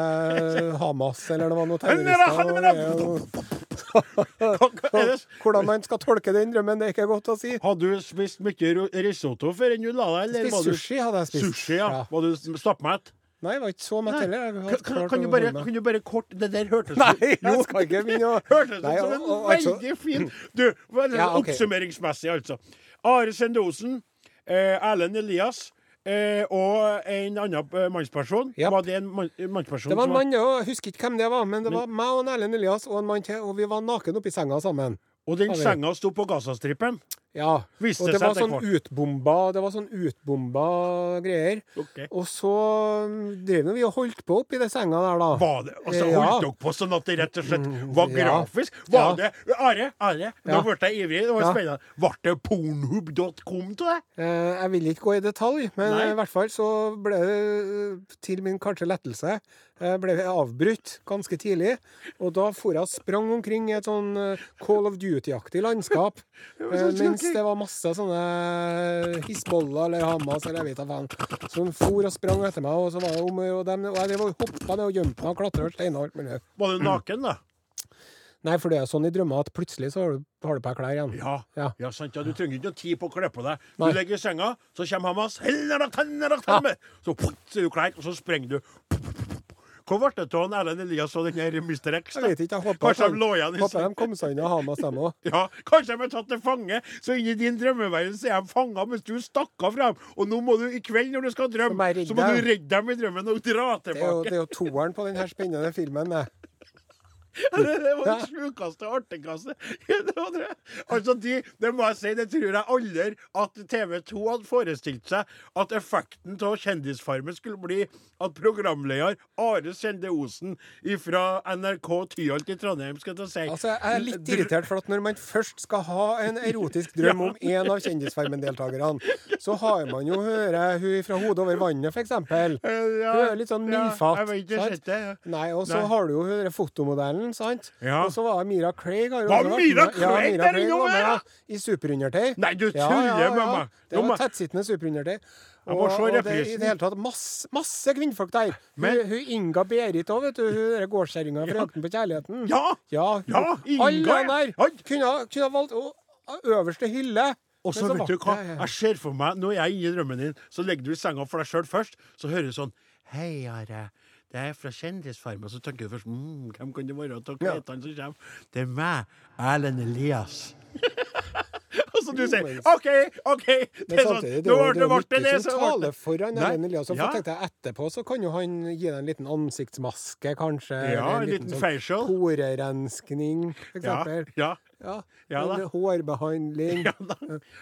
Speaker 3: eh, Hamas eller det var noen terrorister. og-
Speaker 2: Er det-
Speaker 3: Hvordan man skal tolke den drømmen, det er ikke godt å si.
Speaker 2: Har du spist mye ro- risotto før enn du la deg? eller var
Speaker 3: Spist
Speaker 2: du-
Speaker 3: sushi hadde jeg spist.
Speaker 2: Sushi, ja.
Speaker 3: Ja.
Speaker 2: Var du stappmett?
Speaker 3: Nei, jeg var ikke så mett
Speaker 2: Nei.
Speaker 3: heller. Jeg har
Speaker 2: Kan, kan,
Speaker 3: klart
Speaker 2: kan, du
Speaker 3: å
Speaker 2: bare,
Speaker 3: holde meg.
Speaker 2: kan du bare kort Det der hørtes
Speaker 3: Nei,
Speaker 2: Jo,
Speaker 3: jeg skal ikke begynne å
Speaker 2: hørtes
Speaker 3: Nei,
Speaker 2: ut som
Speaker 3: og-
Speaker 2: en
Speaker 3: og- altså-
Speaker 2: veldig fin Du, vel,
Speaker 3: Ja, ok.
Speaker 2: oppsummeringsmessig, altså. Are Sendosen, eh, Erlend Elias eh, og en annen eh, mannsperson.
Speaker 3: Japp.
Speaker 2: Var det en mann, en mannsperson
Speaker 3: Det var
Speaker 2: som
Speaker 3: en mann, ja, jeg husker ikke hvem det var, men det var meg og en Erlend Elias og en mann til, og vi var naken oppi senga sammen.
Speaker 2: Og den
Speaker 3: Ja, det-
Speaker 2: senga sto på Gazastripen?
Speaker 3: Ja.
Speaker 2: Viste
Speaker 3: og det
Speaker 2: seg
Speaker 3: var
Speaker 2: etter
Speaker 3: sånn utbomba, det var sånn utbomba greier.
Speaker 2: Ok.
Speaker 3: Og så mm, drev nå vi og holdt på oppi den senga der, da.
Speaker 2: Var det, altså,
Speaker 3: Ja. Mm,
Speaker 2: Holdt dere på sånn at det rett og slett var
Speaker 3: ja.
Speaker 2: grafisk? Var
Speaker 3: Ja.
Speaker 2: det Are, Are, nå
Speaker 3: Ja.
Speaker 2: ble jeg ivrig. Det var
Speaker 3: Ja.
Speaker 2: spennende. Ble det pornhub.com til deg?
Speaker 3: Eh, Jeg vil ikke gå i detalj, men
Speaker 2: Nei.
Speaker 3: i hvert fall så ble det, eh, til min kanskje lettelse, eh, ble jeg avbrutt ganske tidlig. Og da for jeg og sprang omkring i et sånn eh, Call of Duty-aktig landskap.
Speaker 2: var så
Speaker 3: eh, Mens
Speaker 2: skrekkelig.
Speaker 3: det var masse sånne Hizbollah eller Hamas eller jeg vet da faen, som for og sprang etter meg, og så var det om å gjøre- og dem, og jeg drev og hoppa ned og gjemte meg og klatra over steiner og alt mulig.
Speaker 2: Var du naken, da?
Speaker 3: Nei, for det er sånn i drømmer at plutselig så har du, har du på deg klær igjen.
Speaker 2: Ja, ja.
Speaker 3: Ja.
Speaker 2: sant, ja. Du trenger ikke noe tid på å kle på deg. Du
Speaker 3: Nei.
Speaker 2: legger i senga, så kommer Hamas. Ja. Så pff, så er du klar, og så sprenger du. Hvor ble det av han Erlend Elias og den her Mr. X? da?
Speaker 3: Jeg vet ikke, jeg håper,
Speaker 2: Kanskje de lå igjen i
Speaker 3: håper de kom seg unna Hamas, dem òg.
Speaker 2: Ja, Kanskje de er tatt til fange, så inni din drømmeverden så er de fanga mens du stakk av fra dem. Og nå må du i kveld når du skal
Speaker 3: må
Speaker 2: drømme,
Speaker 3: jeg
Speaker 2: så
Speaker 3: redde
Speaker 2: må du
Speaker 3: dem.
Speaker 2: redde dem i drømmen og dra
Speaker 3: Det er jo, det
Speaker 2: tilbake.
Speaker 3: er jo toeren på denne spennende filmen. det.
Speaker 2: Det, var det sjukeste og artigste. Det var det. Altså, de, det må jeg si, det tror jeg aldri at TV 2 hadde forestilt seg at effekten av Kjendisfarmen skulle bli at programleder Are Sende Osen fra NRK Tyholt i Trondheim skal til å si
Speaker 3: Altså, jeg er litt irritert, for at når man først skal ha en erotisk drøm om én av Kjendisfarmen-deltakerne, så har man jo høre hun fra Hodet over vannet, f.eks. Hun
Speaker 2: Eh, ja,
Speaker 3: er litt sånn
Speaker 2: ja,
Speaker 3: mildfat.
Speaker 2: jeg vet ikke,
Speaker 3: sant?
Speaker 2: sett det, ja.
Speaker 3: Nei, og så
Speaker 2: Nei.
Speaker 3: har du jo hun der fotomodellen Allen, sant?
Speaker 2: Ja.
Speaker 3: Og så var det Mira Craig. har jo
Speaker 2: Var
Speaker 3: også vært
Speaker 2: Mira
Speaker 3: med. Ja,
Speaker 2: Craig
Speaker 3: Mira
Speaker 2: der
Speaker 3: Craig
Speaker 2: innom
Speaker 3: var med,
Speaker 2: her,
Speaker 3: ja,
Speaker 2: da?
Speaker 3: I superundertøy.
Speaker 2: Nei, du tuller med meg.
Speaker 3: Det
Speaker 2: Nå
Speaker 3: var
Speaker 2: må-
Speaker 3: tettsittende superundertøy.
Speaker 2: Jeg må se
Speaker 3: det, I
Speaker 2: reprisen.
Speaker 3: det hele tatt masse, masse kvinnfolk der.
Speaker 2: Men-
Speaker 3: hun, hun Inga Berit òg, vet du. Hun der gårdskjerringa fra Jakten på kjærligheten.
Speaker 2: Ja.
Speaker 3: ja,
Speaker 2: Ja, Inga,
Speaker 3: Alle der
Speaker 2: ja.
Speaker 3: kunne, ha- kunne ha valgt å, øverste hylle.
Speaker 2: Og så
Speaker 3: Men
Speaker 2: vet
Speaker 3: var
Speaker 2: du hva,
Speaker 3: det-
Speaker 2: jeg ser for meg, når jeg er inne i drømmen din, så legger du i senga for deg sjøl først, så hører du sånn Hei, Are. Det er fra Kjendisfarmen. Så tenker du først mm, Hvem kan det være? Og hva heter han som kommer? Det er meg, Erlend Elias. og så du sier OK, OK. Det
Speaker 3: Men
Speaker 2: er sånn.
Speaker 3: samtidig,
Speaker 2: Nå ble
Speaker 3: jo-
Speaker 2: det
Speaker 3: jo
Speaker 2: ble det,
Speaker 3: mye
Speaker 2: så
Speaker 3: som
Speaker 2: ble
Speaker 3: taler
Speaker 2: det
Speaker 3: for han
Speaker 2: Nei,
Speaker 3: Erlend Eliasson. For
Speaker 2: ja.
Speaker 3: tenkte jeg, etterpå så kan jo han gi deg en liten ansiktsmaske, kanskje.
Speaker 2: Ja,
Speaker 3: eller
Speaker 2: en liten facial.
Speaker 3: Porerenskning, for
Speaker 2: Ja,
Speaker 3: eksempel.
Speaker 2: ja.
Speaker 3: Ja,
Speaker 2: Ja da.
Speaker 3: eller Hårbehandling. eh,
Speaker 2: Ja da.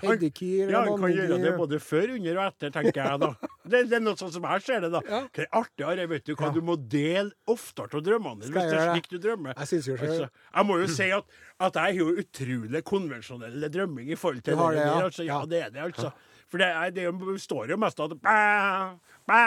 Speaker 3: Pedikyr.
Speaker 2: Ja,
Speaker 3: eller
Speaker 2: han kan gjøre det
Speaker 3: manikkyr.
Speaker 2: både før, under og etter, tenker jeg da. Det, det er noe sånn som jeg ser det, da.
Speaker 3: Ja.
Speaker 2: Hva er artigere, vet du hva, du må dele oftere av drømmene dine,
Speaker 3: Skal
Speaker 2: hvis
Speaker 3: jeg
Speaker 2: det er
Speaker 3: gjøre det?
Speaker 2: slik du drømmer. Altså,
Speaker 3: Jeg synes jo selv-
Speaker 2: jeg må jo si at, at jeg har jo utrolig konvensjonell drømming i forhold til
Speaker 3: Du har
Speaker 2: det,
Speaker 3: det, ja.
Speaker 2: der, altså. Ja, det er det, altså. For det, er, det består jo mest av at bæ, bæ,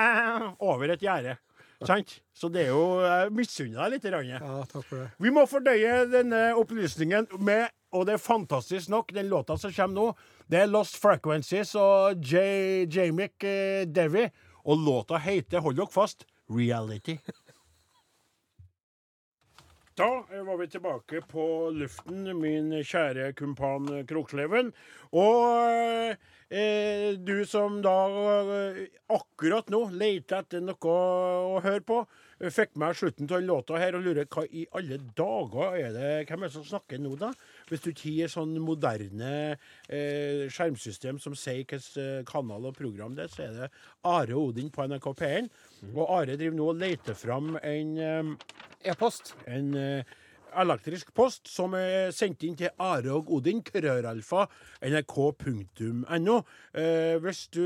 Speaker 2: over et gjerde. Sant? Så det er jo Jeg misunner deg lite grann.
Speaker 3: Ja, takk for det.
Speaker 2: Vi må fordøye denne opplysningen med, og det er fantastisk nok, den låta som kommer nå. Det er Lost Frequencies og J Jamic eh, Devi. Og låta heter, hold dere fast, Reality. Da eh, var vi tilbake på luften, min kjære kumpan eh, Kroksleven. Og eh, du som da eh, akkurat nå leter etter noe å høre på, eh, fikk med slutten av den låta her og lurer hva i alle dager er det Hvem er det som snakker nå, da? Hvis du ikke gir sånn moderne eh, skjermsystem som sier hvilken eh, kanal og program det er, så er det Are Odin på NRK P1. Og Are driver nå og leter fram en eh,
Speaker 3: E-post.
Speaker 2: en eh, elektrisk post som er sendt inn til Are og Odin, krøralfa, nrk.no. Eh, hvis du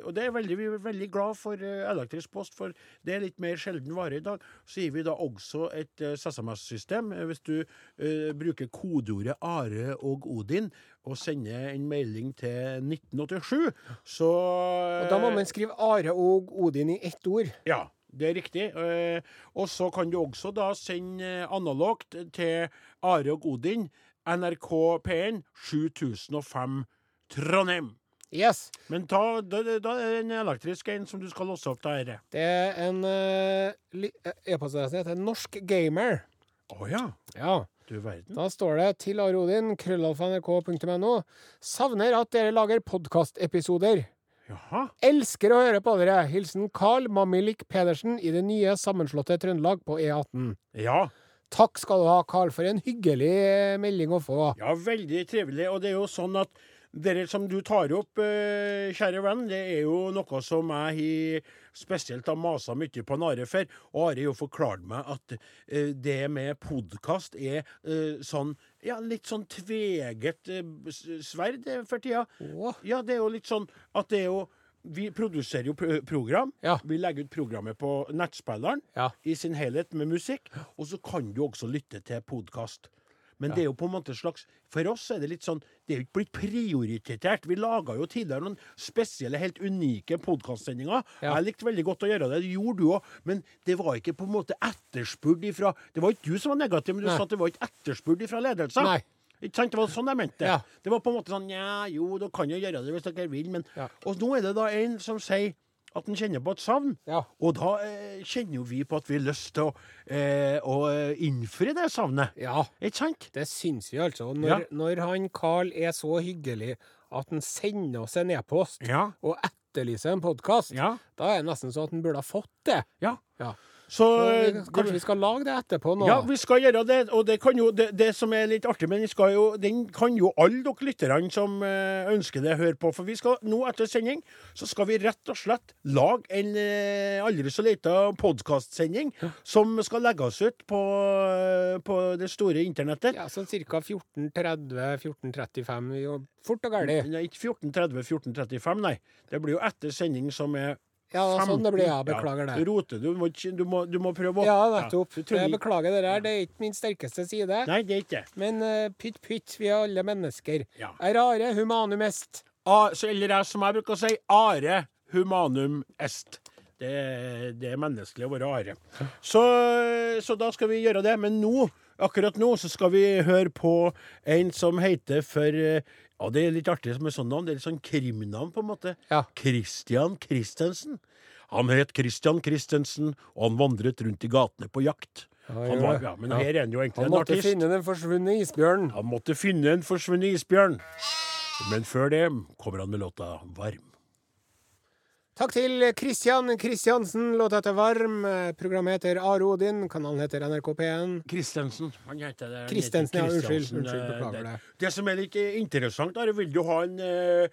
Speaker 2: Og det er veldig, vi er veldig glad for eh, elektrisk post, for det er litt mer sjelden vare i dag. Så gir vi da også et eh, SMS-system. Eh, Hvis du eh, bruker kodeordet Are og Odin og sender en melding til 1987, så
Speaker 3: Og da må man skrive Are og Odin i ett ord.
Speaker 2: ja, det er riktig. Eh, Og så kan du også da sende eh, analogt til Are og Odin, NRK P1, 7005 Trondheim.
Speaker 3: Yes.
Speaker 2: Men ta, da, da- da er det en elektrisk en som du skal låse opp til dette.
Speaker 3: Det er en eh, li- e-postadresse heter Norsk Gamer.
Speaker 2: Å ja.
Speaker 3: Ja.
Speaker 2: Du verden.
Speaker 3: Da står det til Are Odin, krøllalfa.nrk.no. Savner at dere lager podkastepisoder.
Speaker 2: Jaha.
Speaker 3: Elsker å høre på dere! Hilsen Carl Mamilik Pedersen i det nye sammenslåtte Trøndelag på E18.
Speaker 2: Ja.
Speaker 3: Takk skal du ha, Carl, for en hyggelig eh, melding å få.
Speaker 2: Ja, veldig trivelig. Og det er jo sånn at det som du tar opp, eh, kjære venn, det er jo noe som jeg har spesielt har masa mye på Nare for. Og Are har jo forklart meg at eh, det med podkast er eh, sånn ja, litt sånn tveget eh, s- sverd eh, for tida.
Speaker 3: Åh.
Speaker 2: Ja, det er jo litt sånn at det er jo Vi produserer jo pro- program.
Speaker 3: Ja.
Speaker 2: Vi legger ut programmet på nettspilleren
Speaker 3: Ja.
Speaker 2: i sin helhet med musikk. Og så kan du også lytte til podkast. Men det er jo på en måte slags For oss er det litt sånn Det er jo ikke blitt prioritert. Vi laga jo tidligere noen spesielle, helt unike podkastsendinger.
Speaker 3: Ja.
Speaker 2: Jeg likte veldig godt å gjøre det. Det gjorde du òg. Men det var ikke på en måte etterspurt ifra Det var ikke du som var negativ, men du
Speaker 3: Nei.
Speaker 2: sa at det var ikke etterspurt ifra ledelsen.
Speaker 3: Nei.
Speaker 2: Ikke sant? Det var sånn jeg mente det.
Speaker 3: Ja.
Speaker 2: Det var på en måte sånn Ja, jo, dere kan jo gjøre det hvis dere vil, men
Speaker 3: Ja.
Speaker 2: Og nå er det da en som sier at han kjenner på et savn.
Speaker 3: Ja.
Speaker 2: Og da eh, kjenner jo vi på at vi har lyst til å, eh, å eh, innfri det savnet.
Speaker 3: Ja,
Speaker 2: Ikke sant?
Speaker 3: det syns vi altså. Og Når,
Speaker 2: Ja.
Speaker 3: når han Carl er så hyggelig at han sender oss en e-post
Speaker 2: Ja.
Speaker 3: og etterlyser en podkast,
Speaker 2: Ja.
Speaker 3: da er det nesten sånn at han burde ha fått det.
Speaker 2: Ja.
Speaker 3: Ja.
Speaker 2: Så,
Speaker 3: Så vi,
Speaker 2: eh,
Speaker 3: kanskje vi skal lage det etterpå nå?
Speaker 2: Ja, vi skal gjøre det. Og det, kan jo, det, det som er litt artig, men vi skal jo, den kan jo alle dere lytterne som eh, ønsker det, høre på. For vi skal nå etter sending så skal vi rett og slett lage en eh, aldri så lita podkastsending som skal legges ut på, eh, på det store internettet.
Speaker 3: Ja, sånn ca. 14.30-14.35. Fort og gærlig.
Speaker 2: Nei, ikke 14.30, 14.35, nei. Det blir jo etter sending som er
Speaker 3: Ja, sånn det blir, ja.
Speaker 2: 15.
Speaker 3: Beklager
Speaker 2: Ja,
Speaker 3: det.
Speaker 2: du roter, du må, ikke- du må, du må prøve å
Speaker 3: Ja, nettopp.
Speaker 2: Ja, du trenger-
Speaker 3: Jeg beklager det der, det er ikke min sterkeste side.
Speaker 2: Nei, det er ikke det.
Speaker 3: Men eh, pytt pytt, vi er alle mennesker.
Speaker 2: Ja.
Speaker 3: Er rare humanum est.
Speaker 2: A, så, eller jeg, som jeg bruker å si, are humanum est. Det, er- det er menneskelig å være are. Så, så da skal vi gjøre det. Men nå, akkurat nå så skal vi høre på en som heter for eh, Ja, det er litt artig med sånn navn. Det er litt sånn krimnavn, på en måte.
Speaker 3: Ja.
Speaker 2: Christian Christensen. Han het Christian Christensen, og han vandret rundt i gatene på jakt. han
Speaker 3: gjør
Speaker 2: var,
Speaker 3: det.
Speaker 2: ja, men
Speaker 3: Ja.
Speaker 2: her er han jo egentlig
Speaker 3: Han
Speaker 2: en
Speaker 3: måtte
Speaker 2: artist.
Speaker 3: finne den forsvunne isbjørnen.
Speaker 2: Han måtte finne en forsvunnet isbjørn. Men før det kommer han med låta Varm.
Speaker 3: Takk til Kristian Kristiansen. Låta heter Varm. Eh, Programmet heter Are Odin. Kanalen heter NRK P1.
Speaker 2: Christensen. Han heter det. Han
Speaker 3: Christensen, ja,
Speaker 2: heter
Speaker 3: unnskyld,
Speaker 2: Christiansen,
Speaker 3: unnskyld,
Speaker 2: eh,
Speaker 3: beklager det.
Speaker 2: Det som er litt eh, interessant, er vil du ha en eh,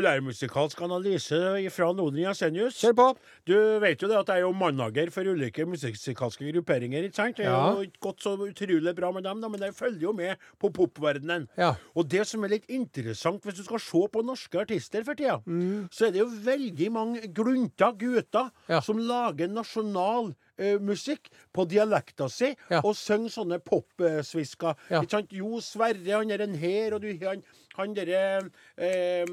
Speaker 2: populærmusikalsk analyse fra Nodrin Jensenius?
Speaker 3: Kjør på!
Speaker 2: Du vet jo det at jeg er jo mannhager for ulike musikalske grupperinger, ikke sant? Det er
Speaker 3: Ja.
Speaker 2: jo ikke gått så utrolig bra med dem, da, men jeg følger jo med på popverdenen.
Speaker 3: Ja.
Speaker 2: Og det som er litt interessant, hvis du skal se på norske artister for tida, så er det jo veldig mange glunter, gutter,
Speaker 3: Mm. Ja.
Speaker 2: som lager nasjonal eh, musikk på dialekta si,
Speaker 3: Ja.
Speaker 2: og synger sånne popsvisker.
Speaker 3: Ja.
Speaker 2: Ikke sant? Jo Sverre, han er en her, og du han, han derre eh,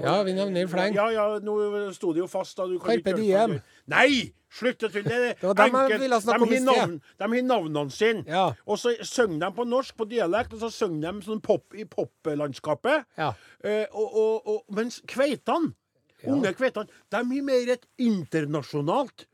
Speaker 3: Ja, vi nevner fleng.
Speaker 2: Ja, ja, nå sto det jo fast, da. Du kan
Speaker 3: Carpe
Speaker 2: ikke gjøre
Speaker 3: diem.
Speaker 2: sånn, du. Nei! Slutt å tulle! Det
Speaker 3: var dem jeg ville snakke om i
Speaker 2: de, har
Speaker 3: sted.
Speaker 2: navn, de har navnene sine.
Speaker 3: Ja.
Speaker 2: Og så synger de på norsk, på dialekt, og så synger de sånn pop i poplandskapet.
Speaker 3: Ja.
Speaker 2: Eh, og, og, og, mens kveitene, unge kveitene, de har mer et internasjonalt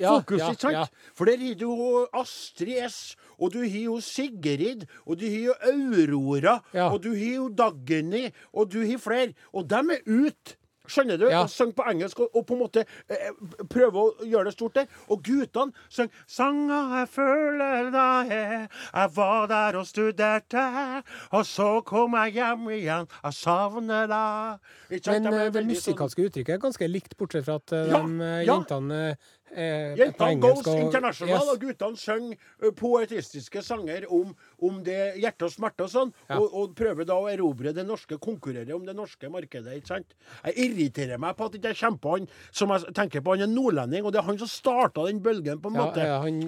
Speaker 3: Ja,
Speaker 2: fokus,
Speaker 3: ja,
Speaker 2: ikke sant?
Speaker 3: ja.
Speaker 2: For der har du jo Astrid S, og du har jo Sigrid, og du har jo Aurora,
Speaker 3: Ja.
Speaker 2: og du har jo Dagny, og du har flere. Og dem er ute. Skjønner du?
Speaker 3: Ja.
Speaker 2: Og synger på engelsk og, og på en måte eh, prøver å gjøre det stort der. Og guttene synger 'Sanga jeg føler deg er', 'Jeg var der og studerte', 'Og så kom jeg hjem igjen, jeg savner deg'. Ikke
Speaker 3: Men
Speaker 2: sant? Dem er
Speaker 3: eh, det
Speaker 2: veldig sånn-
Speaker 3: musikalske uttrykket er ganske likt, bortsett fra at eh,
Speaker 2: Ja,
Speaker 3: de eh,
Speaker 2: ja.
Speaker 3: jentene eh, er på
Speaker 2: Jentene goes
Speaker 3: engelsk og-
Speaker 2: international,
Speaker 3: Yes.
Speaker 2: og guttene synger ø, poetistiske sanger om, om det hjerte og smerte og sånn,
Speaker 3: Ja.
Speaker 2: og, og prøver da å erobre det norske, konkurrere om det norske markedet, ikke sant? Jeg irriterer meg på at ikke jeg kommer på han som jeg tenker på, han er nordlending, og det er han som starta den bølgen, på en
Speaker 3: Ja,
Speaker 2: måte.
Speaker 3: ja, han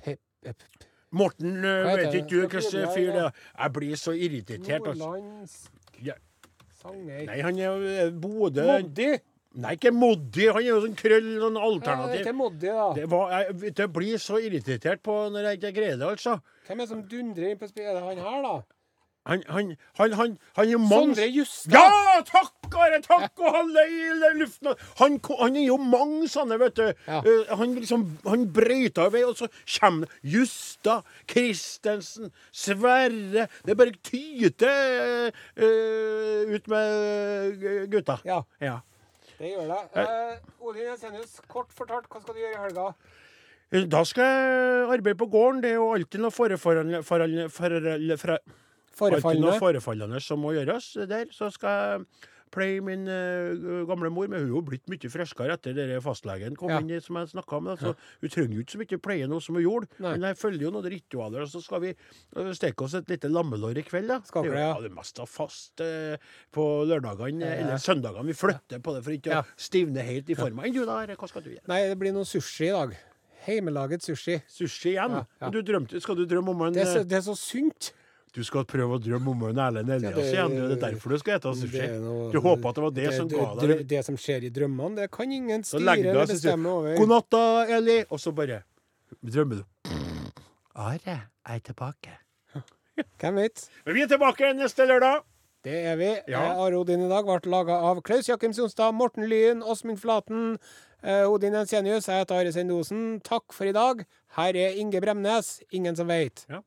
Speaker 3: pe, pe, pe,
Speaker 2: Morten, ø,
Speaker 3: Hva heter
Speaker 2: vet
Speaker 3: det?
Speaker 2: ikke du hvilken
Speaker 3: Nordland,
Speaker 2: fyr det
Speaker 3: ja.
Speaker 2: er? Jeg blir så irritert, altså.
Speaker 3: Nordlands
Speaker 2: Ja.
Speaker 3: sanger
Speaker 2: Nei, han er jo ø, Bodø
Speaker 3: Moddi!
Speaker 2: Nei, ikke Moddi, han er jo sånn krøll, sånn
Speaker 3: Ja, det er
Speaker 2: alternativ.
Speaker 3: ikke Moddi, da.
Speaker 2: Det, var, jeg, vet du, jeg blir så irritert på når jeg ikke greier det, altså.
Speaker 3: Hvem er det som dundrer inn på spillet? Er det han her, da?
Speaker 2: Han, han, han, han, han er manns...
Speaker 3: Sondre Justad!
Speaker 2: Ja! Takk, Are! Takk! Og alle i l- luften Han, ko- han er jo mange sånne, vet du.
Speaker 3: Ja.
Speaker 2: Eh, han liksom Han brøyta i vei, og så kommer Justad, Christensen, Sverre Det bare tyter eh, ut med eh, gutta.
Speaker 3: Ja.
Speaker 2: ja.
Speaker 3: Det gjør det. Eh, Odin Jensenius, kort fortalt, hva skal du gjøre i helga?
Speaker 2: Eh, Da skal jeg arbeide på gården. Det er jo alltid noe foreforhandle... forhandle- forhandle- fra- Alltid noe forefallende som må gjøres der. Så skal jeg pleie min eh, gamle mor, men hun er jo blitt mye friskere etter det der fastlegen kom
Speaker 3: Ja.
Speaker 2: inn i, som jeg snakka om. Altså, Hun trenger jo ikke så mye pleie nå som hun gjorde,
Speaker 3: Nei.
Speaker 2: men jeg følger jo noen ritualer. Og så skal vi eh, steke oss et lite lammelår i kveld, da.
Speaker 3: Skal
Speaker 2: det, er
Speaker 3: dere,
Speaker 2: jo-
Speaker 3: ja.
Speaker 2: ja, det er mest av fast eh, på lørdagene eh, eller søndagene. Vi flytter på det for ikke
Speaker 3: Ja.
Speaker 2: å stivne helt i forma. Enn du, da? Are? Hva skal du gjøre?
Speaker 3: Nei, det blir noe sushi i dag. Heimelaget sushi.
Speaker 2: Sushi igjen?
Speaker 3: Ja, ja.
Speaker 2: Men Du drømte, skal du drømme om en
Speaker 3: Det er så,
Speaker 2: eh,
Speaker 3: det er så sunt.
Speaker 2: Du skal prøve å drømme om en Erlend Elias
Speaker 3: det-
Speaker 2: igjen. du. Det er derfor du skal ete sushi.
Speaker 3: er noe-
Speaker 2: Du håper at det var det, som ga deg
Speaker 3: drø- Det som skjer i drømmene, det kan ingen
Speaker 2: Så
Speaker 3: styre
Speaker 2: legger du
Speaker 3: eller
Speaker 2: deg og så sier
Speaker 3: bestemme over.
Speaker 2: God natt, da, Eli. Og så bare drømmer du. Are er tilbake.
Speaker 3: Hvem vet?
Speaker 2: Men vi er tilbake neste lørdag.
Speaker 3: Det er vi.
Speaker 2: Ja.
Speaker 3: Eh, Are Odin i dag ble laga av Klaus Jakim Sonstad, Morten Lyen, Åsmund Flaten, eh, Odin Jensenius. Jeg heter Are Sendosen. Takk for i dag. Her er Inge Bremnes, Ingen som veit.
Speaker 2: Ja.